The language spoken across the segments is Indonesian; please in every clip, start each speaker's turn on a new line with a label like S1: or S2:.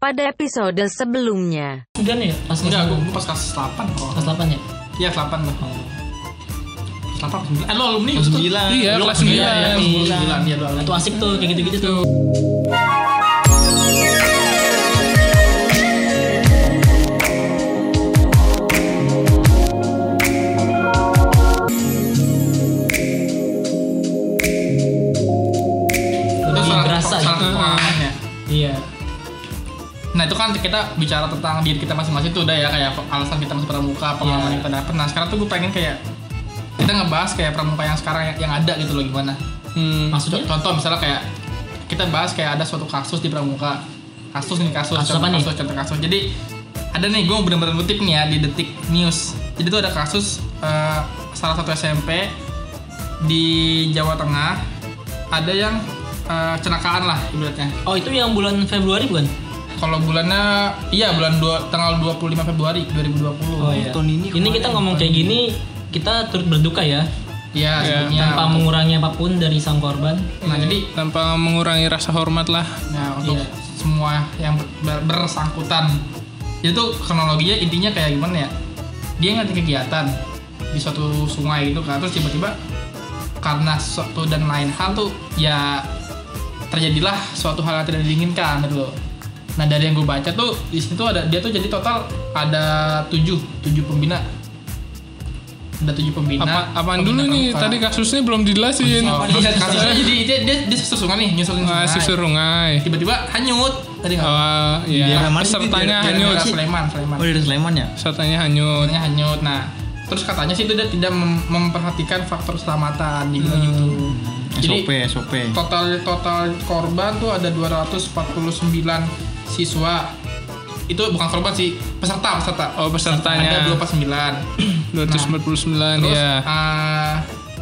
S1: pada episode sebelumnya.
S2: Udah nih ya? Pas
S3: Enggak, gue pas kelas 8 kok.
S2: Kelas 8 ya?
S3: Iya, kelas 8 lah. Kelas 8 kelas 9. Eh, lo alumni
S4: Kelas
S3: itu?
S4: sembilan.
S3: Iya, kelas
S4: Lo kelas
S3: 9.
S4: sembilan.
S3: Iya, kelas 9. Iya, lo
S2: Nah,
S3: alumni.
S2: itu asik tuh, kayak gitu-gitu tuh.
S3: Itu
S2: Lebih
S3: salah
S2: berasa
S3: salah
S2: gitu.
S3: satu pengalaman ya.
S2: Iya.
S3: Nah itu kan kita bicara tentang diri kita masing-masing tuh udah ya kayak alasan kita masih pramuka, pengalaman
S2: Iya.
S3: kita dapet. Nah sekarang tuh gue pengen kayak kita ngebahas kayak pramuka yang sekarang yang, yang ada gitu loh gimana.
S4: Hmm.
S2: Maksudnya?
S3: Contoh misalnya kayak kita bahas kayak ada suatu kasus di pramuka, kasus nih kasus,
S2: Kasus apa
S3: contoh
S2: nih?
S3: kasus, contoh kasus. Jadi ada nih gue bener-bener ngutip nih ya di detik news. Jadi tuh ada kasus eh, salah satu SMP di Jawa Tengah ada yang eh, celakaan lah ibaratnya.
S2: Oh, itu yang bulan Februari bukan?
S3: Kalau bulannya iya bulan dua, tanggal 25 Februari 2020.
S2: Oh, iya.
S4: tahun ini
S2: Ini kita ngomong kayak gini, kita turut berduka ya.
S3: Iya, sebelumnya.
S2: Tanpa mengurangi apapun dari sang korban.
S3: Nah, jadi
S4: Tanpa mengurangi rasa hormat lah.
S3: nah untuk
S2: Iya.
S3: semua yang ber- bersangkutan itu kronologinya intinya kayak gimana ya? Dia ngerti kegiatan di suatu sungai gitu kan terus tiba-tiba karena suatu dan lain hal tuh ya terjadilah suatu hal yang tidak diinginkan gitu loh. Nah dari yang gue baca tuh di situ ada dia tuh jadi total ada tujuh tujuh pembina ada tujuh pembina.
S4: Apa, apaan
S3: Pembina
S4: dulu nih?
S3: pramuka.
S4: Tadi kasusnya belum dijelasin.
S3: Oh, kasus- kasusnya jadi dia dia, dia susur sungai nih nyusulin sungai.
S4: Masih surungai.
S3: Tiba-tiba hanyut tadi nggak?
S4: Ah, Oh,
S5: Daerah
S4: iya.
S5: mana sih?
S4: Pesertanya
S5: Daerah-
S3: Daerah
S4: hanyut.
S3: Sleman, Sleman.
S5: Oh dari Sleman ya?
S4: Pesertanya hanyut.
S3: Katanya hanyut. Nah, terus katanya sih itu dia tidak mem- memperhatikan faktor keselamatan dibilang gitu.
S5: SOP, SOP.
S3: total total korban tuh ada 249 siswa. Itu bukan korban sih, peserta, peserta.
S4: Oh, pesertanya. Iya.
S3: Ada 249.
S4: 249
S3: Terus
S4: ya.
S3: eh,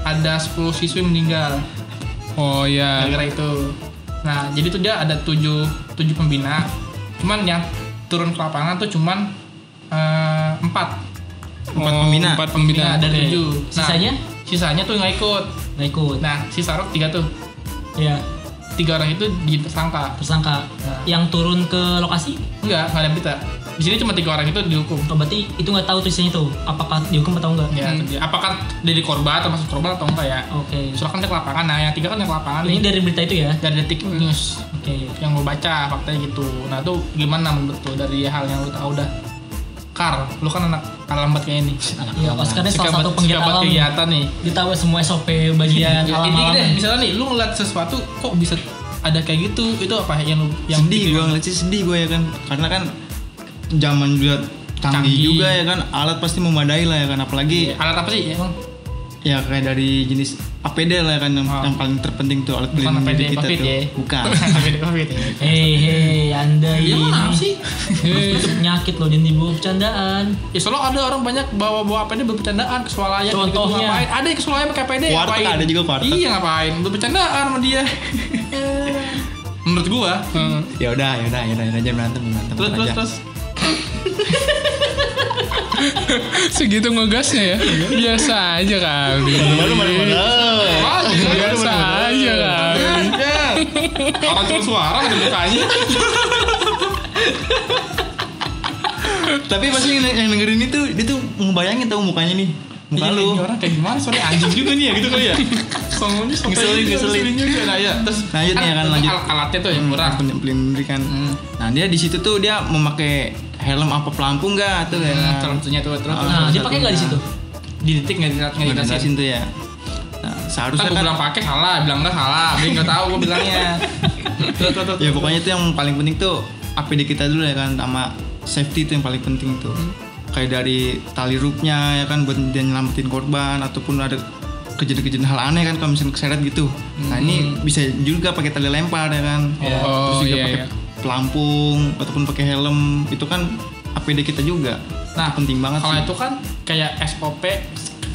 S3: ada 10 siswi meninggal.
S4: Oh
S3: Eh,
S4: ya.
S3: gara-gara itu nah jadi tuh dia ada tujuh tujuh pembina cuman yang turun ke lapangan tuh cuman eh, empat
S5: Empat pembina.
S4: Oh, Empat
S3: pembina
S4: pembina.
S3: dari
S2: Oke.
S3: tujuh Nah,
S2: Sisanya?
S3: sisanya tuh nggak ikut
S2: Nah, ikut.
S3: nah sisa orang tiga tuh
S2: Iya,
S3: tiga orang itu tersangka
S2: tersangka.
S3: Nah.
S2: Yang turun ke lokasi,
S3: enggak nggak ada berita di sini cuma tiga orang itu dihukum
S2: oh, berarti itu nggak tahu tulisannya tuh. Apakah dihukum atau enggak?
S3: ya itu dia. apakah dari korban termasuk korban atau enggak ya
S2: Oke.
S3: silakan dia ke lapangan nah yang tiga kan yang ke lapangan
S2: Ini dari berita itu ya?
S3: dari detik news
S2: Oke.
S3: yang gue baca faktanya gitu nah tuh gimana menurut lo dari hal yang lu tahu dah Kar, lu kan anak alam lambat kayak ini
S2: Iya,
S3: Nah,
S2: Oscar ini salah satu penggiat
S3: alam
S2: alam.
S3: kegiatan nih
S2: Dia tahu semua SOP bagian
S3: Ya, ini deh,
S2: alam-alam.
S3: misalnya nih, lu ngeliat sesuatu kok bisa ada kayak gitu itu apa yang lu yang gitu?
S5: Yang sedih gue ngeliat sih sedih gue ya kan karena kan zaman juga canggih,
S3: Canggih.
S5: juga ya kan alat pasti memadai lah ya kan apalagi
S3: alat apa sih ya emang
S5: ya kayak dari jenis APD lah ya kan yang,
S3: Oh.
S5: yang paling terpenting tuh alat
S3: bukan
S5: pelindung
S3: APD
S5: diri kita
S3: covid
S5: tuh
S3: ya
S5: bukan
S3: covid covid
S2: Hei, hei, anda
S3: ya
S2: ini.
S3: mana sih
S2: Itu penyakit loh, jangan dibawa bercandaan.
S3: ya soalnya ada orang banyak bawa bawa APD buat bercandaan kesualahan
S2: Contohnya.
S3: ngapain ada yang kesualahan pakai APD
S5: Warteg
S3: ngapain
S5: ada juga, warteg.
S3: iya ngapain buat bercandaan sama dia menurut gua
S4: Hmm.
S5: ya udah ya udah ya udah ya udah, jangan berantem jangan berantem
S3: terus
S5: tenang
S3: terus
S5: aja.
S3: terus
S4: Segitu ngegasnya ya. Biasa aja kali.
S5: baru baru baru
S3: Wah,
S4: Biasa aja kali.
S3: Ada. Orang cuma suara ada mukanya.
S5: tapi pasti yang, yang dengerin itu dia tuh ngebayangin tau mukanya nih muka
S3: Iya,
S5: lu
S3: ini orang kayak gimana? Sorry anjing juga nih ya gitu kali ya. Soalnya
S5: Ngeselin, ngeselin.
S3: juga nah ya. Terus
S5: Lanjut nih, kan, lanjut.
S3: al- alatnya tuh yang
S5: Hmm,
S3: kurang.
S5: pelin- pelindung kan
S3: Hmm.
S5: nah dia di situ tuh dia memakai helm apa pelampung nggak tuh ya
S3: Nah,
S5: kan?
S3: contohnya tuh terus
S5: Ah.
S2: Nah, dia pakai nggak di situ?
S3: di detik nggak dilihat nggak
S5: nggak
S3: dikasih.
S5: dijelasin tuh ya nah,
S3: Terus
S5: seharusnya
S3: gue
S5: kan
S3: bilang pakai salah, bilang enggak salah, dia nggak tahu gue bilangnya. Terus terus terus.
S5: ya pokoknya itu yang paling penting tuh APD kita dulu ya kan sama safety itu yang paling penting tuh
S3: Hmm.
S5: kayak dari tali rope-nya ya kan buat dia nyelamatin korban ataupun ada kejadian-kejadian hal aneh kan kalau misalnya keseret gitu nah ini
S3: Hmm.
S5: bisa juga pakai tali lempar ya kan terus
S4: Oh
S5: juga
S4: iya
S5: pakai
S4: iya.
S5: pelampung ataupun pakai helm itu kan APD kita juga
S3: Nah,
S5: penting banget
S3: kalau
S5: sih.
S3: itu kan kayak SOP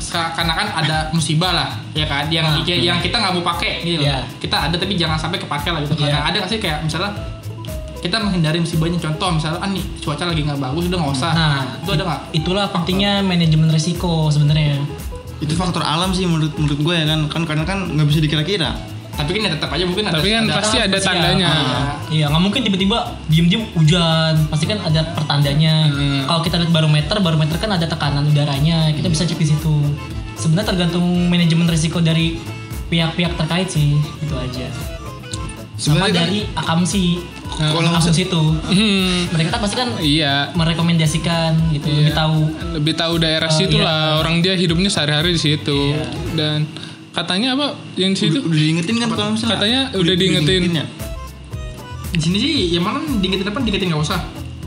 S3: karena kan ada musibah lah ya kan yang
S2: Nah,
S3: yang- yang kita nggak mau pakai gitu loh.
S2: Iya.
S3: kita ada tapi jangan sampai kepake lah gitu kan
S2: Iya.
S3: Nah, ada nggak sih kayak misalnya kita menghindari musibahnya contoh misalnya kan nih cuaca lagi nggak bagus udah nggak usah
S2: Nah,
S3: itu ada nggak
S2: Itulah pentingnya manajemen risiko sebenarnya.
S5: itu faktor alam sih menurut menurut gue ya kan kan karena kan nggak bisa dikira-kira
S3: tapi kan ya tetap aja mungkin ada
S4: Tapi kan pasti ada
S2: pasti
S4: tandanya.
S2: ya. Iya, nggak mungkin tiba-tiba diem-diem hujan. Pasti kan ada pertandanya.
S5: Mm-hmm.
S4: Hmm.
S2: Kalau kita lihat barometer, barometer kan ada tekanan udaranya. Kita bisa cek di situ. Sebenarnya tergantung manajemen risiko dari pihak-pihak terkait sih, itu aja. Sama
S5: Sebenarnya kan- Nah,
S2: dari akamsi,
S5: Kalau
S2: akamsi itu,
S4: Hmm,
S2: mereka kan pasti kan
S4: iya.
S2: merekomendasikan gitu,
S5: Iya.
S2: lebih tahu.
S4: Lebih tahu daerah situ
S2: iya.
S4: lah. Orang dia hidupnya sehari-hari di situ. Dan katanya apa yang di situ?
S5: udah diingetin kan kalau misalnya
S4: Katanya udah diingetin.
S5: ya?
S3: di sini sih ya yang mana diingetin apa diingetin nggak usah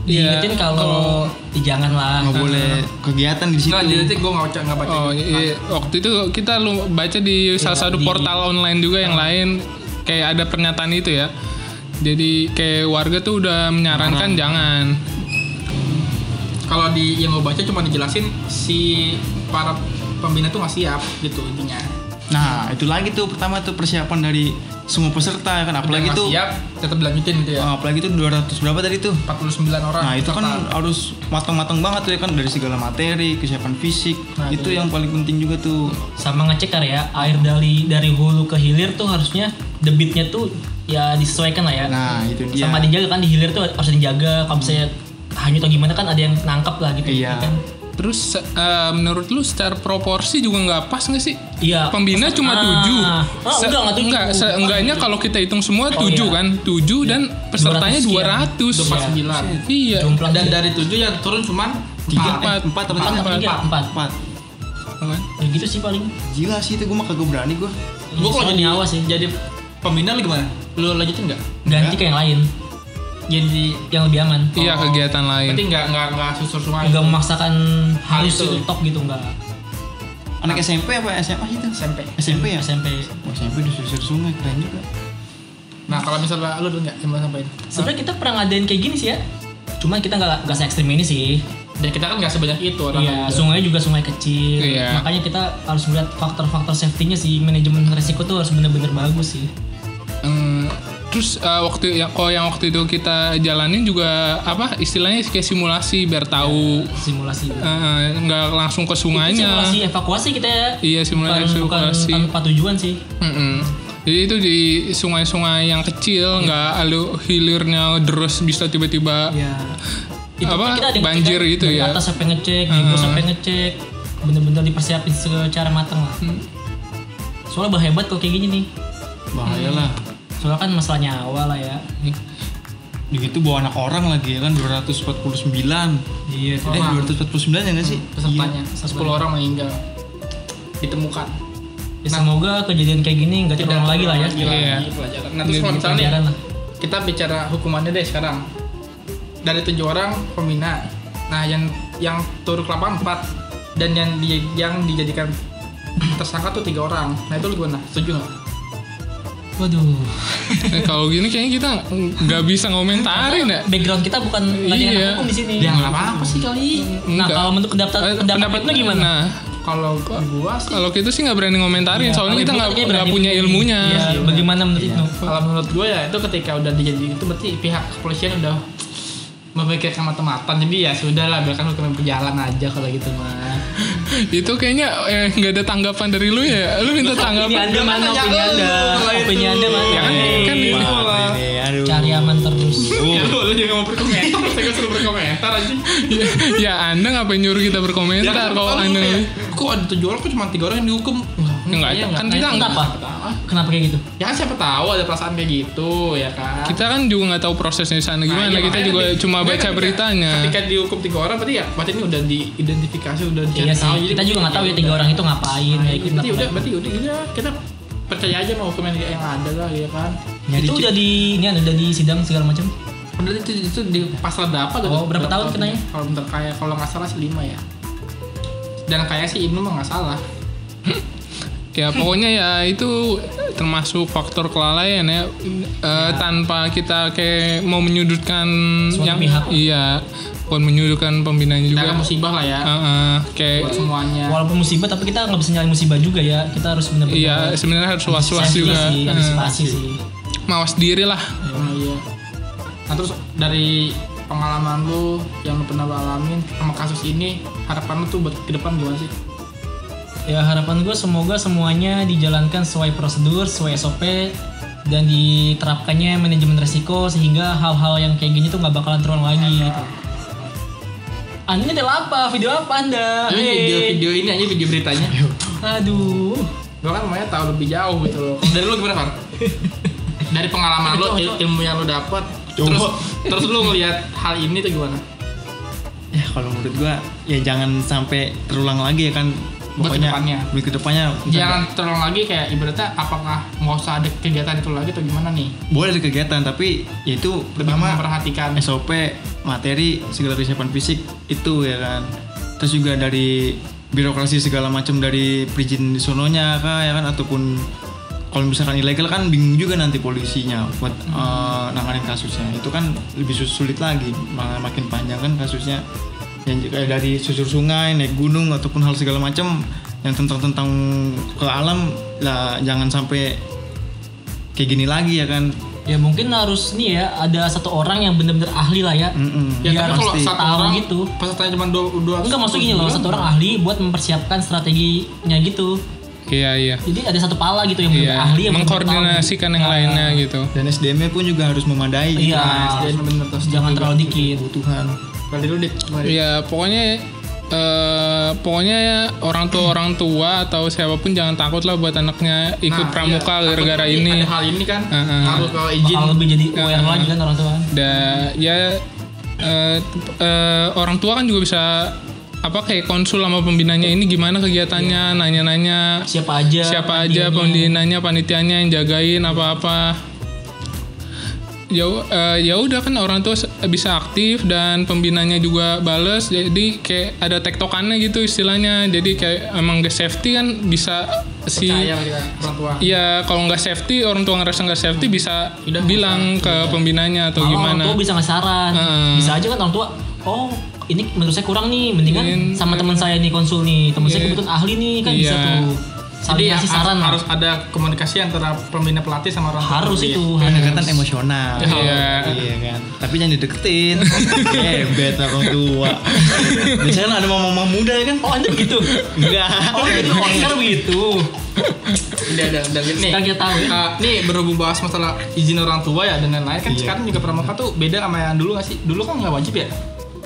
S4: Iya.
S2: Diingetin kalau "Ih, jangan lah.
S4: Nah.
S5: nggak boleh kegiatan di situ
S3: nggak diingetin gue nggak baca nggak baca
S4: Oh, iya. waktu itu kita lu baca di salah satu
S2: di-
S4: portal online juga yang lain kayak ada pernyataan itu ya. Jadi kayak warga tuh udah
S2: Nah.
S4: menyarankan jangan.
S3: kalau di yang gue baca cuma dijelasin si para pembina tuh nggak siap gitu intinya
S5: nah itu lagi tuh pertama tuh persiapan dari semua peserta ya kan
S3: Yang
S5: apalagi
S3: nggak
S5: tuh
S3: siap tetap dilanjutin gitu ya
S5: eh, apalagi tuh 200 berapa tadi tuh
S3: 49 orang
S5: Nah itu kan
S3: peserta.
S5: harus matang-matang banget tuh ya kan dari segala materi, kesiapan fisik.
S3: Nah,
S5: itu yang paling penting juga tuh.
S2: sama ngecek karya air dari dari hulu ke hilir tuh harusnya debitnya tuh ya disesuaikan lah ya
S5: Nah itu
S3: Iya.
S5: dia.
S2: sama dijaga kan di hilir tuh harus dijaga
S3: Hmm.
S2: kalau misalnya hanyut atau gimana kan ada yang nangkap lah gitu
S5: Iya.
S2: kan
S4: Terus eh, menurut lu secara proporsi juga nggak pas nggak sih?
S2: iya
S4: Pembina cuma
S2: Ah.
S4: tujuh.
S2: Ah, enggak,
S4: Se-
S2: enggak tujuh.
S4: enggak, se- enggaknya kalau kita hitung semua
S2: Oh,
S4: tujuh
S2: iya.
S4: kan, tujuh dan pesertanya
S2: 200
S4: dua
S2: sekian.
S4: ratus.
S3: 49
S4: Iya.
S2: Jumlah
S3: dan dari tujuh yang turun cuman empat.
S5: tiga, empat, empat, atau
S2: empat
S5: tiga?
S2: empat tiga, empat
S5: empat.
S4: Iya,
S2: Ya gitu sih paling
S5: Gila sih itu gue mah kagak berani gue.
S3: Gua kalau
S2: Soalnya
S3: jadi-
S2: awas sih
S3: jadi pembina lu gimana lu lanjutin nggak
S2: ganti ke yang lain
S3: jadi
S2: yang lebih aman
S4: Iya
S3: Oh.
S4: kegiatan lain.
S3: berarti nggak nggak nggak susur sungai
S2: enggak memaksakan harus
S3: Itu.
S2: itu top gitu enggak
S5: Anak SMP apa SMA sih itu?
S3: SMP
S5: SMP ya?
S2: SMP
S5: Wah, SMP disusur sungai keren juga.
S3: nah kalau misalnya lu udah nggak yang mau sampaikan
S2: sebenarnya kita pernah ngadain kayak gini sih ya cuman kita nggak nggak se ekstrim ini sih
S3: dan kita kan nggak sebanyak itu orang
S2: Iya, sungai juga sungai kecil.
S4: Iya.
S2: Makanya kita harus melihat faktor-faktor safety-nya sih. Manajemen resiko tuh harus bener-bener bagus sih.
S4: Eh, terus eh, waktu ya kalau yang waktu itu kita jalanin juga apa istilahnya kayak simulasi biar tahu
S2: Simulasi.
S4: eh, nggak langsung ke
S2: Itu
S4: sungainya.
S2: Simulasi evakuasi kita ya.
S4: Iya
S2: Bukan,
S4: simulasi
S2: bukan
S4: evakuasi.
S2: tanpa tujuan sih.
S4: Mm-mm. Jadi itu di sungai-sungai yang kecil nggak alu hilirnya terus bisa tiba-tiba
S2: Iya. Itu
S4: Apa,
S2: kan kita ada yang
S4: banjir
S2: ngecek
S4: gitu
S2: dari
S4: ya?
S2: Atas sampai ngecek, di bawah sampai ngecek. Bener-bener dipersiapin secara matang lah.
S4: Hmm.
S2: Soalnya bahaya banget kalau kayak gini nih.
S5: Bahaya lah.
S2: Soalnya kan masalah nyawa lah ya.
S5: Begitu bawa anak orang lagi ya kan 249.
S2: Iya.
S5: Eh 249 ya nggak sih?
S3: pesertanya
S2: Iya,
S3: 10 orang meninggal ditemukan
S2: Ya, semoga kejadian kayak gini nggak terulang lagi lah ya. gitu.
S3: lagi lagi
S4: Iya.
S3: pelajaran nah terus kalau misalnya
S2: Pelajaran lah.
S3: kita bicara hukumannya deh sekarang dari tujuh orang pembina nah yang yang turun ke lapangan empat dan yang di, yang dijadikan tersangka tuh tiga orang nah itu lu gimana setuju nggak
S2: Waduh.
S4: Eh, kalau gini kayaknya kita nggak bisa ngomentarin ya.
S2: background kita bukan ngajarin
S4: Iya.
S2: hukum di sini.
S3: ya nggak apa apa sih kali
S2: Nah,
S4: Enggak.
S2: kalau menurut pendapat
S4: Eh,
S2: pendapat lu gimana?
S4: Nah,
S3: kalau gua sih
S4: kalau kita sih nggak berani ngomentarin,
S2: Iya, Kalau
S4: soalnya kita
S2: ibu
S4: nggak
S2: katanya
S4: nggak
S2: berani
S4: punya
S2: begini.
S4: ilmunya.
S2: Iya, bagaimana menurut lu?
S3: kalau menurut gue ya itu ketika udah dijadikan itu berarti pihak kepolisian udah memikirkan mata-matan jadi ya sudah lah biarkan hukum yang berjalan aja kalau gitu mah
S4: Itu kayaknya eh, nggak ada tanggapan dari lu ya. Lu minta
S2: Opini
S4: tanggapan.
S2: Anda mana?
S3: tanya
S2: Opini
S3: lu,
S2: Anda?
S3: kalau itu.
S2: Opini Anda mana?
S4: Ya kan,
S2: Eh,
S4: kan ini.
S5: Wah, ini, aduh.
S2: Cari aman terus.
S3: ya lu lu juga mau berkomentar saya gak suruh berkomentar aja
S2: Iya.
S3: Ya,
S4: ya Anda ngapain nyuruh kita berkomentar kalau Anda
S3: iya. kok ada tujuh orang kok cuma tiga orang yang dihukum
S4: Enggak,
S2: Iya,
S3: kayaknya
S4: kan
S3: nggak.
S4: kita nggak-
S2: Kenapa? Kenapa kayak gitu?
S3: ya kan siapa tahu ada perasaan kayak gitu ya kan
S4: kita kan juga nggak tahu prosesnya di sana
S3: Nah,
S4: gimana.
S3: iya,
S4: kita
S3: makanya
S4: juga
S3: nanti-
S4: cuma
S3: makanya
S4: baca
S3: ketika-
S4: beritanya.
S3: ketika dihukum tiga orang berarti ya berarti ini udah diidentifikasi udah
S2: Iya
S3: dicari
S2: sih.
S3: tahu, jadi
S2: Kita juga nggak tahu ya tiga orang itu ngapain, gitu.
S3: Nah,
S2: nggak ikut
S3: berarti udah
S2: nggak
S3: berarti udah udah kita percaya aja sama hukum yang yang ada lah ya kan
S2: ngapain. Itu udah di ini ada udah di sidang segala macam.
S3: Padahal itu itu di pasal berapa gitu?
S2: Oh, berapa tahun kenanya?
S3: Kalau bentar kaya kalau nggak salah sih lima ya. Dan kaya sih Ibnu mah nggak salah.
S4: Ya pokoknya ya itu termasuk faktor kelalaian ya, Eh, tanpa kita kayak mau menyudutkan
S2: Suatu
S4: yang
S2: pihak.
S4: iya bukan menyudutkan pembinanya
S3: Kita
S4: juga.
S3: kan musibah lah ya
S4: Eh, eh, kayak
S3: buat
S4: Ya.
S3: semuanya.
S2: Walaupun musibah tapi kita nggak bisa nyalain musibah juga ya. Kita harus benar-benar
S4: iya sebenarnya harus was-was
S2: safety
S4: juga.
S2: sih,
S4: Eh,
S2: antisipasi sih.
S4: mawas diri lah.
S3: Oh, iya. Nah terus dari pengalaman lu yang lu pernah lu alamin sama kasus ini harapan lu tuh buat ke depan gimana sih?
S2: Ya harapan gue semoga semuanya dijalankan sesuai prosedur, sesuai SOP dan diterapkannya manajemen resiko sehingga hal-hal yang kayak gini tuh nggak bakalan terulang lagi gitu. Anda ini adalah apa? Video apa Anda?
S3: Ini
S2: Hey.
S3: video-video ini aja Iya, video beritanya.
S2: Aduh.
S3: Gue kan maunya tahu lebih jauh gitu loh. Dari lu gimana, Far? Dari pengalaman lu, il- ilmu yang lu dapat, terus terus lu ngelihat hal ini tuh gimana?
S5: ya kalau menurut gua ya jangan sampai terulang lagi ya kan
S3: Buat
S5: pokoknya
S3: kedepannya. Iya.
S5: buat kedepannya
S3: Jangan terulang lagi kayak ibaratnya apakah nggak usah ada kegiatan itu lagi atau gimana nih?
S5: boleh ada kegiatan tapi ya itu
S3: Lebih
S5: pertama
S3: memperhatikan.
S5: SOP materi segala kesiapan fisik itu ya kan terus juga dari birokrasi segala macam dari perizinan di sononya kah ya kan ataupun kalau misalkan ilegal kan bingung juga nanti polisinya buat
S3: Hmm.
S5: eh, nanganin kasusnya itu kan lebih sus- sulit lagi malah makin panjang kan kasusnya yang j- kayak dari susur sungai naik gunung ataupun hal segala macam yang tentang tentang ke alam lah jangan sampai kayak gini lagi ya kan
S2: Ya mungkin harus nih ya ada satu orang yang bener-bener ahli lah ya.
S5: Mm-mm.
S3: Ya,
S5: Iya,
S2: Biar
S3: tapi kalau
S5: pasti.
S3: satu
S2: tahu
S3: orang
S2: gitu.
S3: pesertanya cuma dua, dua
S2: Enggak maksud gini loh, satu orang ahli buat mempersiapkan strateginya gitu.
S4: Iya iya.
S2: Jadi ada satu pala gitu yang bener ahli
S4: Iya.
S2: yang bener-bener tahu.
S4: Mengkoordinasikan yang lainnya gitu.
S5: dan SDM-nya pun juga harus memadai
S2: Iya,
S5: gitu kan.
S3: Dan bener terus
S2: jangan terlalu dikit.
S5: kebutuhan
S3: Kali dulu deh. kembali.
S4: Ya pokoknya eh pokoknya ya, orang tua orang tua atau siapapun jangan takut lah buat anaknya
S3: Nah,
S4: ikut pramuka
S3: iya.
S4: gara-gara
S3: Takutnya
S4: ini.
S3: Ada hal ini kan,
S4: Heeh.
S3: harus kalau izin.
S2: Bakal lebih jadi aware lagi kan orang tua.
S4: Da, ya eh, t- eh, orang tua kan juga bisa apa kayak konsul sama pembinanya ini gimana
S3: Iya.
S4: kegiatannya nanya-nanya
S2: Siapa aja?
S4: siapa
S2: panitianya.
S4: aja pembinanya panitianya yang jagain apa-apa ya u- eh, ya udah kan orang tua se- bisa aktif dan pembinanya juga bales jadi kayak ada tektokannya gitu istilahnya jadi kayak emang ke safety kan bisa si
S3: Percaya kita orang tua.
S4: ya kalau nggak safety orang tua ngerasa nggak safety bisa
S3: Udah,
S4: bilang ke pembinanya atau
S2: Malah
S4: gimana
S2: Orang tua bisa ngasih saran.
S4: Heeh.
S2: Bisa aja kan orang tua, oh ini menurut saya kurang nih, mendingan sama teman saya nih konsul nih, teman saya kebetulan ahli nih kan bisa
S4: Iya.
S2: tuh. Saling
S3: Jadi ya,
S2: ngasih saran
S3: har-
S2: lah.
S3: harus ada komunikasi antara pembina pelatih sama orang tua.
S2: harus
S3: Iya.
S2: itu.
S5: pendekatan emosional
S4: Iya.
S5: iya kan tapi jangan dideketin gebet orang tua biasanya kan ada mama-mama muda ya kan
S2: Oh anda begitu?
S5: enggak
S2: Oh gitu, Oscar begitu.
S3: Udah, udah, udah. Nih,
S2: Kan kita tahu ya.
S3: eh, nih berhubung bahas masalah izin orang tua ya dan lain-lain kan
S5: Iya.
S3: sekarang juga pramuka tuh beda sama yang dulu nggak sih? Dulu kan nggak wajib ya?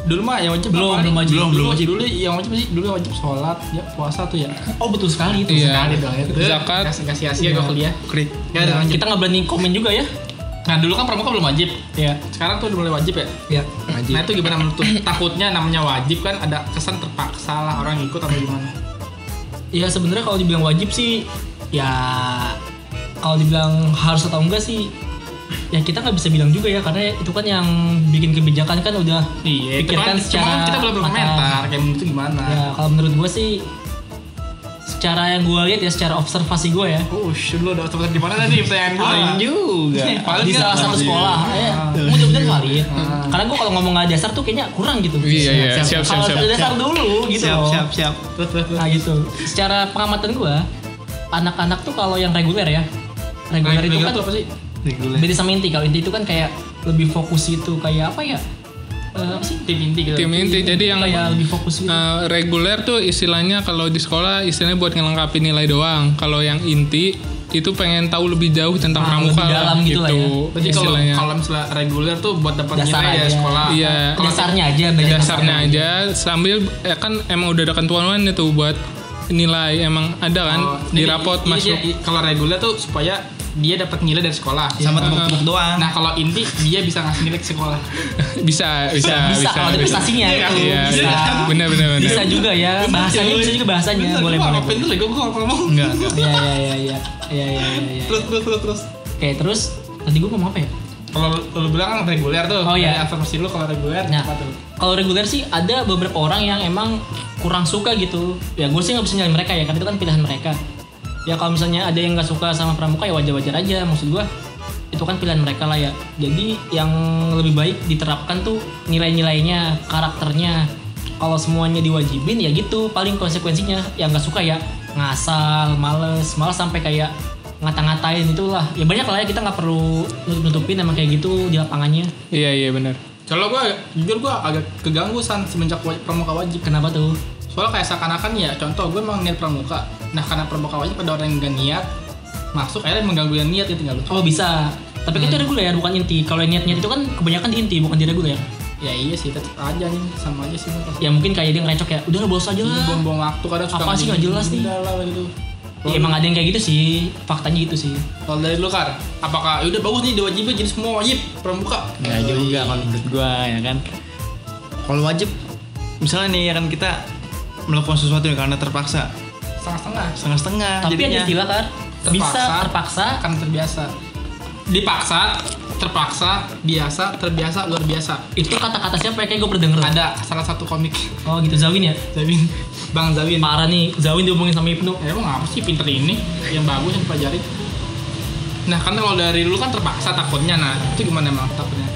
S3: Dulu mah yang wajib
S2: Belum,
S3: apa?
S2: belum wajib.
S3: Dulu,
S2: Belum, belum
S3: wajib. Dulu yang wajib sih, dulu yang wajib sholat, ya puasa tuh ya.
S2: Oh betul sekali itu.
S4: Iya.
S3: Sekali dong ya. Tuh,
S4: Zakat.
S3: Kasih kasih asia gua kuliah.
S5: krik
S3: Nggak ada wajib.
S2: Iya. Kita nggak berani komen juga ya.
S3: Nah dulu kan pramuka belum wajib.
S2: Iya.
S3: Sekarang tuh udah mulai wajib ya.
S2: Iya.
S3: Nah itu gimana menurut lu? takutnya namanya wajib kan ada kesan terpaksa lah orang ikut atau gimana?
S2: Ya sebenarnya kalau dibilang wajib sih, ya kalau dibilang harus atau enggak sih, ya kita nggak bisa bilang juga ya karena itu kan yang bikin kebijakan kan udah
S3: Iya, itu
S2: pikirkan
S3: kan cuma
S2: secara
S3: kan kita belum
S2: matang.
S3: berkomentar kayak menurut itu gimana.
S2: Ya kalau menurut gue sih, secara yang gue lihat ya secara observasi gue ya
S3: Ush, Oh, lu udah tempat di mana tadi pertanyaan gua?
S5: Paling juga
S4: Ya,
S3: Paling
S2: di
S3: nggak
S2: salah satu
S3: pasti.
S2: sekolah,
S4: Ah.
S2: ya. mudah-mudahan kali ya. Karena gue kalau ngomong nggak dasar tuh kayaknya kurang gitu.
S4: Iya, iya. Siap, siap,
S2: Kalau
S4: siap.
S2: ada dasar dulu gitu.
S5: siap
S2: loh.
S5: siap siap
S3: Oh, Terus, terus, terus.
S2: Nah gitu. Secara pengamatan gua, anak-anak tuh kalau yang reguler ya, reguler itu
S3: Reguler
S2: kan
S3: tuh apa sih?
S5: reguler
S2: beda sama inti. Kalau inti itu kan kayak lebih fokus itu kayak apa ya? Eh, apa sih?
S3: Tim inti gitu.
S4: tim inti jadi yang
S2: kayak lebih fokus gitu.
S4: eh, reguler tuh istilahnya kalau di sekolah istilahnya buat ngelengkapi nilai doang kalau yang inti itu pengen tahu lebih jauh tentang
S2: Ah,
S4: pramuka
S2: lebih
S4: lah,
S2: dalam gitu lah ya.
S3: Berarti kalau
S4: istilahnya
S3: kalau misalnya reguler tuh buat dapat
S2: Dasar
S3: nilai ya
S2: aja.
S3: sekolah.
S4: Iya.
S3: Kalau
S2: dasarnya aja belajar
S4: dasarnya aja sambil eh, kan emang udah ada kentuan itu buat nilai emang ada kan
S3: Oh,
S4: di
S3: jadi
S4: rapot
S3: i- i-
S4: masuk
S3: i- Kalau reguler tuh supaya dia dapat nilai dari sekolah.
S2: Iya.
S5: sama tepuk-tepuk doang
S3: Nah kalau inti dia bisa ngasih nilai ke sekolah.
S4: bisa Iya, bisa
S2: Bisa, kalau ada prestasinya
S4: Iya,
S2: itu,
S4: iya,
S2: bisa.
S4: iya. bener bener bener
S2: Bisa juga ya, bahasanya bisa juga bahasanya. Boleh, boleh. boleh.
S3: Pinter gue kalau ya? ngomong.
S5: enggak enggak
S2: Iya, iya, iya, iya. Iya, iya, iya, iya.
S3: Terus terus terus terus.
S2: Oke, terus tadi gua ngomong apa ya?
S3: Kalau lu- lu bilang kan reguler tuh.
S2: Oh, iya.
S3: Dari Afirmasi lu kalau reguler
S2: Nah,
S3: apa tuh?
S2: kalau reguler sih ada beberapa orang yang emang kurang suka gitu. Ya gue sih nggak bisa nyalain mereka ya, karena itu kan pilihan mereka. Ya kalau misalnya ada yang nggak suka sama pramuka ya wajar-wajar aja. Maksud gue itu kan pilihan mereka lah ya. Jadi yang lebih baik diterapkan tuh nilai-nilainya, karakternya. Kalau semuanya diwajibin ya gitu. Paling konsekuensinya yang nggak suka ya ngasal, males, malas sampai kayak ngata-ngatain itulah. Ya banyak lah ya kita nggak perlu nutup-nutupin emang kayak gitu di lapangannya.
S4: iya iya bener
S3: Kalau gue jujur gue agak keganggu san semenjak wa- pramuka wajib.
S2: Kenapa tuh?
S3: soalnya kayak seakan-akan ya contoh gue emang niat pramuka nah karena permukaannya pada orang yang gak niat masuk akhirnya mengganggu yang niat itu nggak lucu
S2: Oh bisa. Tapi kan itu reguler bukan inti. Kalau niat-niat itu kan kebanyakan di inti bukan di reguler.
S3: ya iya sih tetep aja nih sama aja sih menurut
S2: Ya mungkin kayak dia ngerecok ya. Udah lah bolos aja
S3: Ini
S2: lah.
S3: buang-buang waktu kadang suka
S2: Apa sih nggak jelas nih?
S3: Udah lah, gitu.
S2: Ya, emang ada yang kayak gitu sih. Faktanya gitu sih.
S3: Kalau dari lu kan, apakah udah bagus nih diwajibin jadi semua wajib pramuka?
S5: Nggak juga kalau menurut gua ya kan. Kalau wajib misalnya nih ya kan kita melakukan sesuatu yang karena terpaksa
S3: Setengah-setengah.
S5: setengah-setengah
S2: Tapi ada
S5: jadinya.
S2: istilah kan. Bisa terpaksa.
S3: Kan terbiasa. Dipaksa, terpaksa, biasa, terbiasa, luar biasa.
S2: Itu kata-kata siapa ya? Kayak gue pernah denger.
S3: Ada salah satu komik
S2: Oh gitu Zawin ya.
S3: Zawin, Bang Zawin.
S2: Parah nih Zawin diomongin sama Ibnu.
S3: Ya, emang apa sih pinter ini yang bagus yang dipelajari? Nah kan kalau dari lu kan terpaksa takutnya nah itu gimana emang takutnya?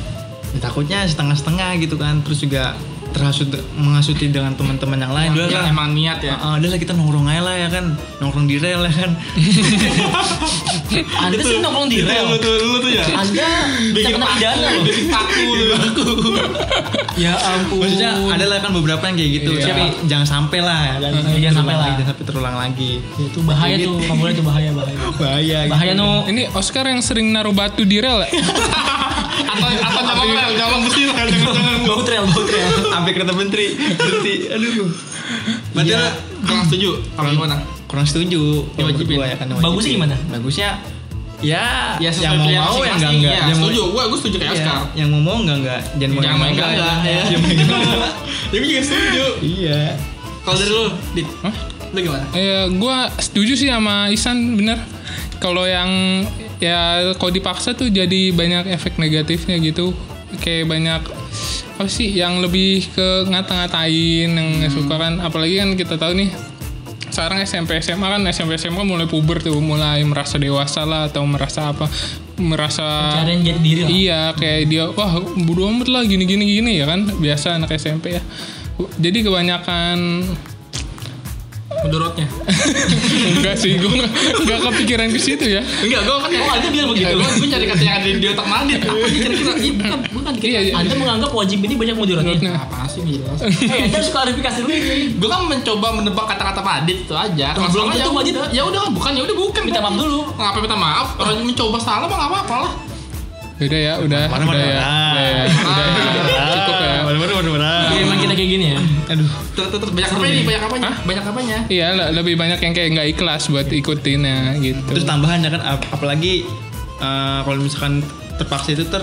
S5: Ya, takutnya setengah-setengah gitu kan terus juga terhasut menghasuti dengan teman-teman yang lain
S3: yang
S5: lah.
S3: emang niat ya.
S5: Ah, ah, udah lah kita nongkrong aja lah ya kan nongkrong di rel ya kan
S2: Anda sih nongkrong di
S5: Iya,
S2: rel.
S3: Lu tuh, lu tuh ya.
S2: Anda bisa kena pidana loh.
S3: Bikin paku lu.
S2: Ya ampun.
S5: maksudnya ada lah kan beberapa yang kayak gitu tapi jangan sampai lah ya kan
S2: Iya, jangan sampai
S5: Terulang
S2: lah.
S5: lagi, jangan sampai terulang lagi
S2: Ya, Itu bahaya tuh. Nggak boleh tuh bahaya bahaya.
S5: bahaya gitu.
S2: Bahaya no.
S4: Ini Oscar yang sering naruh batu di rel ya?
S3: Atau atau nyolong rel, nyolong
S5: Iya,
S3: besi lah jangan-jangan.
S2: Go trail, go trail.
S5: sampai kereta menteri berhenti aduh padahal
S3: Kurang setuju apa gimana?
S5: Iya. kurang setuju
S3: Diwajibin.
S5: Menurut gua ya kan diwajibin.
S2: Bagusnya gimana?
S5: bagusnya ya,
S3: Ya
S5: yang
S3: sesuai
S5: mau
S3: pilihan
S5: mau yang enggak
S3: masing-masing,
S5: enggak
S3: ya.
S5: yang mau
S3: setuju, gue gue setuju kayak
S5: ya,
S3: Oscar.
S5: yang mau mau enggak enggak jangan mau
S3: Jangan
S5: yang
S3: mau enggak enggak, ya.
S5: Jangan mau enggak enggak.
S3: Tapi juga setuju.
S5: iya
S3: Kalau dari lu, Dit,
S4: Hah?
S3: lu gimana?
S4: Ya, gue setuju sih sama Isan bener. Kalau yang ya kalau dipaksa tuh jadi banyak efek negatifnya gitu. Kayak banyak apa sih yang lebih ke ngata-ngatain yang nggak suka kan. Apalagi kan kita tahu nih sekarang SMP SMA kan SMP SMA mulai puber tuh mulai merasa dewasa lah atau merasa apa
S3: Eh,
S4: merasa
S2: Cariin jati diri lah.
S4: Iya, kayak dia wah bodo amat lah gini gini gini ya kan biasa anak SMP ya. Jadi kebanyakan
S3: Mudorotnya.
S4: enggak sih gue nggak- nggak kepikiran ke situ ya.
S3: Enggak, gue kan oh, aja bilang begitu. Gue cari kata yang ada di otak Mandit. Apa sih kira-kira? Ih, bukan, bukan.
S4: Iya, iya.
S2: Anda menganggap wajib ini banyak mudaratnya.
S4: Nah,
S3: Apa sih gak jelas?
S2: Eh, Anda harus klarifikasi dulu ini.
S3: Gue kan mencoba menebak kata-kata Madit itu aja. Kalau
S2: belum
S3: salah
S2: tentu
S3: ya
S2: Madit.
S3: udah- Ya udah bukan, ya udah bukan.
S2: Minta maaf dulu.
S3: Ngapain minta maaf? Orang mencoba salah mah nggak apa-apa lah.
S4: udah ya, udah,
S5: Mana, mana,
S4: udah ya,
S5: mana.
S4: udah ya, udah ya,
S5: iya.
S3: Ah.
S4: cukup ya.
S5: bener bener
S2: Ya, emang kita kayak gini ya.
S5: aduh
S3: Terus terus banyak apa nih? Banyak apanya? Banyak ya? apanya?
S4: Iya, le- lebih banyak yang kayak nggak ikhlas buat ikutin ya gitu.
S5: terus tambahannya kan ap- apalagi eh, kalau misalkan terpaksa itu ter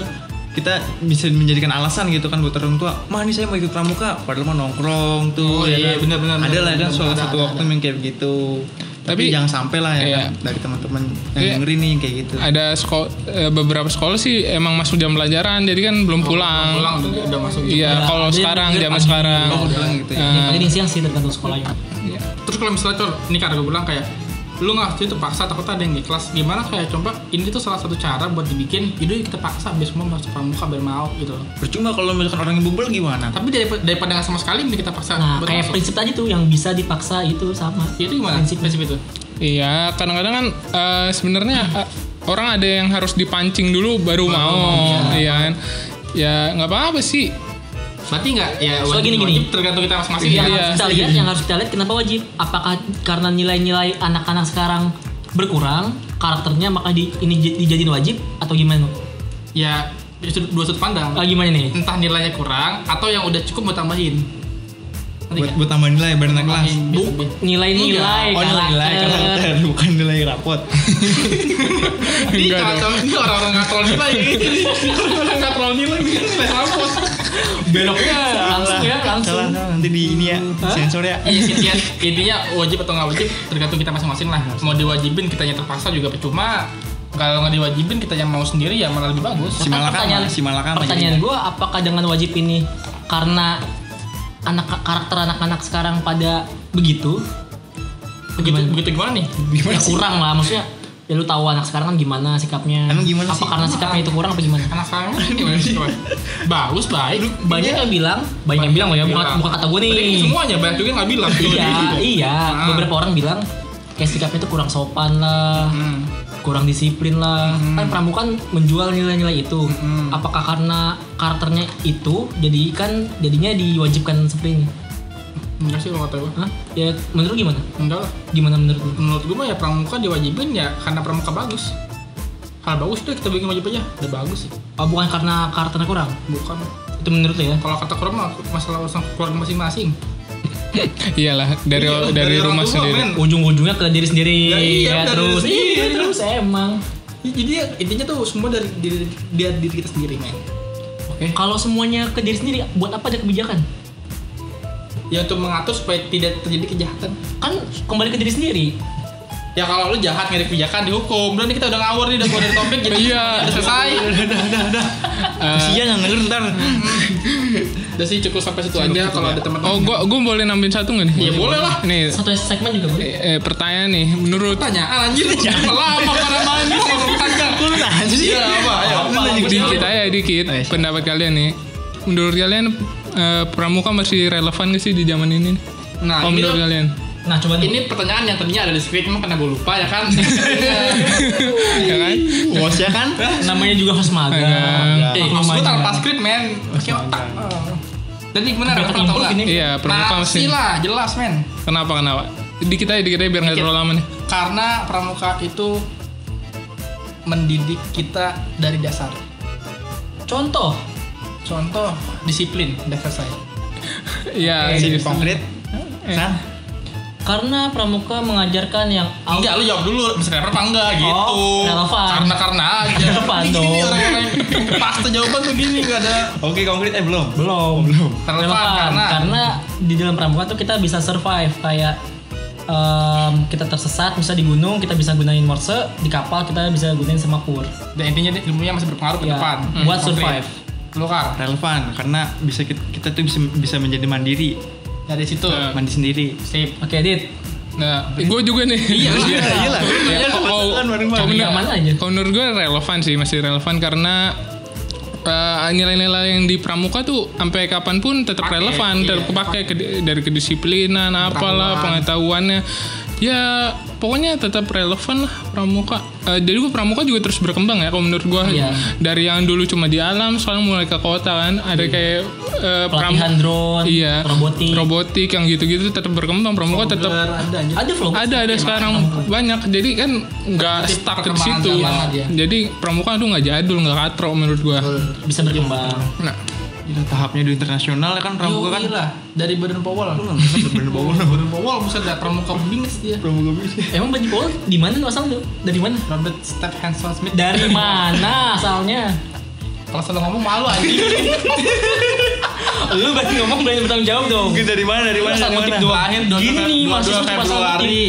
S5: kita bisa menjadikan alasan gitu kan buat orang tua mah ini saya mau ikut pramuka padahal mau nongkrong
S3: Oh,
S5: tuh
S3: iya,
S5: kan?
S3: benar, benar,
S5: ada
S3: benar,
S5: lah kan
S3: benar,
S5: salah
S3: ada,
S5: satu
S3: ada,
S5: waktu yang kayak begitu tapi,
S4: Tapi-
S5: jangan sampai lah ya
S4: Iya.
S5: kan, dari teman-teman yang
S4: Iya.
S5: dengerin nih kayak gitu
S4: Ada sekol- eh, beberapa sekolah sih emang masuk jam pelajaran, jadi kan belum pulang.
S3: Pulang udah, udah masuk.
S4: Iya,
S2: Iya,
S4: kalau
S2: jadi
S4: sekarang
S2: dia
S4: zaman
S2: pagi.
S4: sekarang.
S5: Oh, pulang gitu ya.
S4: Eh,
S2: Pagi ini siang sih tergantung sekolahnya.
S3: terus kalau misalnya cor ini karena gue bilang kayak lu nggak setuju terpaksa takut ada yang ikhlas gimana kayak coba ini tuh salah satu cara buat dibikin yaudah kita paksa biar semua masuk pramuka biar mau gitu loh
S5: percuma kalau misalkan orang yang bubble gimana
S3: tapi daripada, daripada nggak sama sekali mending kita paksa
S2: Nah,
S3: buat
S2: kayak
S3: masuk.
S2: prinsip tadi tuh yang bisa dipaksa itu sama.
S3: Ya, itu gimana prinsip,
S2: Prinsip.
S3: itu
S4: Iya, kadang-kadang kan eh, sebenarnya eh, orang ada yang harus dipancing dulu baru mau, iya kan? Ya nggak apa-apa sih.
S3: berarti nggak ya
S2: Soalnya
S3: wajib-
S2: gini-gini.
S3: wajib tergantung kita masing-masing ya.
S2: Yang
S4: Iya.
S2: harus kita lihat, yang harus kita lihat kenapa wajib? Apakah karena nilai-nilai anak-anak sekarang berkurang karakternya maka di, ini j- dijadiin wajib atau gimana?
S3: ya ya sudut- dua sudut pandang
S2: Ah, gimana nih?
S3: entah nilainya kurang atau yang udah cukup mau tambahin Ngerti
S5: buat
S3: nggak?
S5: buat tambah nilai biar naik kelas
S3: Tambahin, biar lebih.
S2: Nilai-nilai
S3: Iya,
S5: oh Gitu. nilai nilai karakter bukan nilai rapot
S3: Ini
S4: Enggak dong.
S3: contoh- Iya, ini orang-orang ngatrol nilai ini orang ngatrol nilai ini nilai rapot
S2: Beloknya langsung ya, langsung.
S5: salah salah nanti di ini ya sensor ya
S3: Iya sih, Tian. intinya wajib atau nggak wajib tergantung kita masing-masing lah. Mau diwajibin kita yang terpaksa juga percuma. Kalau nggak diwajibin kita yang mau sendiri ya malah lebih bagus.
S5: Si Malaka
S2: pertanyaan,
S5: mana? Si Malaka apa
S2: pertanyaan gue apakah dengan wajib ini karena anak karakter anak-anak sekarang pada begitu
S3: Begitu,
S2: Gimana?
S3: begitu gimana nih?
S5: gimana
S2: ya kurang lah maksudnya ya lu tahu anak sekarang kan gimana sikapnya
S5: Emang gimana
S2: apa
S5: sih? Iya.
S2: karena sikapnya itu kurang apa gimana
S3: Anak sekarang gimana sih? Coba. Bagus baik.
S2: banyak yang bilang banyak yang bilang loh ya bukan, bukan kata gue nih
S3: Tapi Semuanya banyak juga yang nggak bilang.
S2: iya iya
S3: Ah.
S2: beberapa orang bilang kayak sikapnya itu kurang sopan lah
S3: Hmm.
S2: kurang disiplin lah kan pramuka kan menjual nilai-nilai itu
S3: Hmm.
S2: apakah karena karakternya itu jadi kan jadinya diwajibkan seperti ini
S3: enggak sih kalau kata gue
S2: Hah? Ya menurut lu gimana?
S3: enggak lah
S2: Gimana menurut lu?
S3: menurut gue mah ya pramuka diwajibin ya karena pramuka bagus hal bagus deh kita bikin wajib aja udah bagus sih
S2: Oh, bukan karena karakternya kurang.
S3: bukan
S2: Itu menurut lu ya?
S3: kalau kata kurang mah masalah urusan keluarga masing-masing
S4: Iyalah dari
S3: Iya,
S4: dari,
S3: orang
S4: rumah
S3: tua, men.
S4: sendiri.
S2: Ujung-ujungnya ke diri sendiri.
S3: Ya, iya,
S2: ya,
S3: dari
S2: terus.
S3: diri sendiri,
S2: Iya,
S3: terus.
S2: terus emang.
S3: jadi ya, intinya tuh semua dari diri, dari diri kita sendiri men
S4: Oke.
S2: Kalau semuanya ke diri sendiri, buat apa ada kebijakan?
S3: ya untuk mengatur supaya tidak terjadi kejahatan
S2: Kan kembali ke diri sendiri.
S3: ya kalau lu jahat nggak ada kebijakan dihukum udah nih kita udah ngawur nih udah keluar dari topik jadi
S4: Iya.
S3: udah selesai
S5: Kasian yang denger ntar.
S3: Hmm. udah sih cukup sampai situ aja kalau ada teman-teman
S4: Oh, gua gua boleh nambahin satu nggak nih?
S3: ya boleh lah
S4: Nih,
S2: Satu segmen juga boleh.
S4: eh, eh, pertanyaan nih, menurut
S3: tanyaan anjir Kenapa Ah, lama para main ini ngomong panjang
S5: Lu nanya sih.
S3: Iya, apa? Ayo,
S5: Lu nanya
S3: apa?
S5: gitu.
S4: dikit aja ya, dikit
S5: Oh, iya, siap.
S4: pendapat kalian nih. Menurut kalian eh, pramuka masih relevan gak sih di zaman ini?
S3: nah
S5: Ah,
S4: Oh,
S3: ini,
S4: menurut
S5: iya.
S3: tuh-
S4: kalian?
S2: Nah, coba nih.
S3: ini pertanyaan yang tadinya ada di script emang karena gue lupa ya kan
S4: Ya kan?
S5: Bos ya kan?
S2: namanya juga host magang.
S4: Magang.
S2: Eh,
S3: Eh,
S2: host
S3: maksud
S2: magang.
S3: gue tanpa skrip men pakai otak Oh. dan ini gimana
S2: Berapa
S3: Rafa tau
S2: improve
S3: gak?
S2: ini?
S4: Iya, pramuka
S3: Pasti
S4: masih.
S3: lah, Nah, jelas men
S4: Kenapa kenapa? Dikit aja dikit aja biar nggak
S3: Dikit.
S4: terlalu lama nih.
S3: Karena pramuka itu mendidik kita dari dasar
S2: Contoh,
S3: Contoh, disiplin, udah selesai
S4: Iya.
S5: Jadi
S4: serius.
S5: konkret.
S4: Eh.
S3: Nah,
S5: San,
S2: karena pramuka mengajarkan yang out-
S3: Enggak, lu jawab dulu, misalnya apa enggak gitu
S2: Oh, relevan.
S3: Karena-karena aja
S2: Relevan
S3: Ini gini
S2: dong.
S3: orang-orang yang Pasti jawaban tuh gini, gak ada
S5: Oke konkret eh belum.
S2: belum
S3: Relevan, karena-
S2: di dalam pramuka tuh kita bisa survive kayak em, kita tersesat bisa di gunung kita bisa gunain morse di kapal kita bisa gunain semapur
S3: Dan intinya dia ilmunya masih berpengaruh ke
S2: Ya,
S3: depan Hmm,
S2: buat
S3: Konkret.
S2: survive.
S3: Lu kan,
S5: Relevan karena bisa kita, kita tuh bisa bisa menjadi mandiri, Nah,
S3: dari situ
S5: mandi sendiri.
S3: Sip
S2: oke dit
S4: Nah, gue juga nih.
S5: Iya iyalah.
S4: Ya, kalau
S5: Kan bareng-bareng.
S4: kalau menurut-
S2: Aman aja.
S4: kalau menurut gue relevan sih masih relevan karena eh, nilai-nilai yang di pramuka tuh sampai kapanpun tetap
S3: Pakai,
S4: relevan
S3: iya,
S4: tetap kepake ke- dari kedisiplinan apalah pengetahuannya ya pokoknya tetap relevan lah pramuka Eh, jadi gue pramuka juga terus berkembang ya kalau menurut gue
S2: Iya.
S4: dari yang dulu cuma di alam sekarang mulai ke kota kan ada kayak eh,
S2: Iya.
S4: pram-
S2: pelatihan drone
S4: iya
S2: robotik
S4: robotik yang gitu-gitu tetap berkembang pramuka tetap
S3: Ada anjir
S2: ada vlog
S4: ada ada sekarang banyak jadi kan nggak
S3: Berarti
S4: stuck di
S3: perkembangan
S4: situ
S3: zaman
S2: ya.
S3: dia.
S4: jadi pramuka tuh nggak jadul nggak katro menurut gua
S2: bisa berkembang
S4: nah
S5: Gila, tahapnya di internasional ya kan pramuka kan.
S3: Yoi lah, dari badan powol
S5: Bener banget.
S3: Badan powol, buset dah, pramuka bingits dia
S5: Pramuka bisa.
S2: emang baju pol di mana lu asal lu dari mana
S3: Robert Step Hanson Smith
S2: dari mana asalnya
S3: Kalau salah ngomong malu anjing
S2: lu berarti ngomong berani bertanggung jawab dong
S5: Mungkin dari mana dari mana
S2: Masa
S5: dari
S2: ngutip
S5: mana?
S2: doang. Gini nih, mahasiswa cuma salah
S3: Februari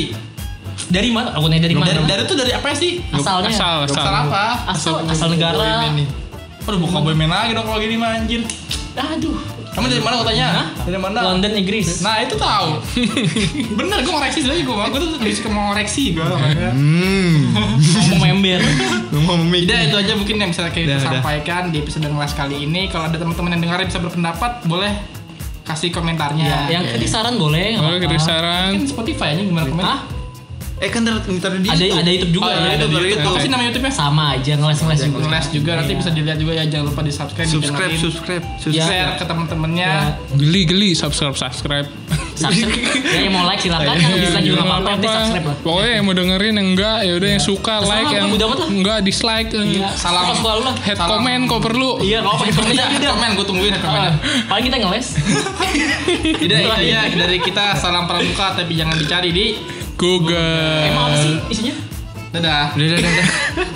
S2: dari mana aku nanya dari mana
S3: Dari, dari tuh dari apa sih?
S2: asalnya
S4: asal
S3: Asal,
S4: asal
S3: apa?
S2: asal, asal negara
S3: Ini. Aduh, bukan boy main lagi dong kalau gini mah anjir.
S2: aduh
S3: Kamu dari mana kotanya?
S2: Hah?
S3: Dari mana?
S2: London Inggris
S3: Nah, itu tahu. Bener, gue ngoreksi sebenarnya gue gue tuh lebih suka ngoreksi gue.
S5: Iya,
S3: orangnya.
S5: Hmm.
S2: ngomong member
S5: Ngomong mik.
S3: Udah itu aja mungkin yang bisa kita
S5: Udah, udah.
S3: sampaikan di episode ngelas kali ini. Kalau ada teman-teman yang dengar bisa berpendapat, boleh kasih
S5: Iya,
S3: komentarnya.
S2: Ya, yang kritik saran boleh nggak
S4: boleh
S2: apa-apa.
S4: kritik saran
S3: Mungkin Spotify aja
S5: Iya.
S3: gimana komen?
S2: Hah?
S5: Eh kan ntar ntar di
S2: ada ada YouTube juga
S3: Oh,
S2: ya?
S3: ya, itu
S5: iya, ada
S3: baru
S5: YouTube.
S3: itu. Apa sih nama YouTube-nya?
S2: sama aja ngeles ngeles juga
S3: Ngeles juga nanti bisa dilihat juga ya jangan lupa di-subscribe,
S5: Iya. subscribe
S3: didengerin,
S5: subscribe
S3: share
S5: subscribe.
S3: ke teman-temannya.
S2: Ya.
S4: geli geli subscribe subscribe
S2: subscribe ya yang mau like
S4: Iya,
S2: silakan yang dislike juga nggak apa-apa yang penting subscribe lah Iya.
S4: pokoknya yang mau dengerin yang enggak ya udah yang suka
S2: Terserah
S4: like
S2: lah,
S4: yang
S2: udah amat lah.
S4: enggak dislike eh.
S2: Iya,
S3: Salam.
S2: suka suka lu lah
S4: head
S3: Salam.
S4: comment kok perlu
S2: iya nggak apa-apa komen aja udah.
S3: komen gue tungguin ya,
S2: Ah,
S3: komen.
S2: paling kita ngeles
S3: Tidak itu ya. aja iya, dari kita salam pramuka tapi jangan dicari di.
S4: Google
S2: emang apa sih isinya
S3: Dadah.
S5: Udah udah udah.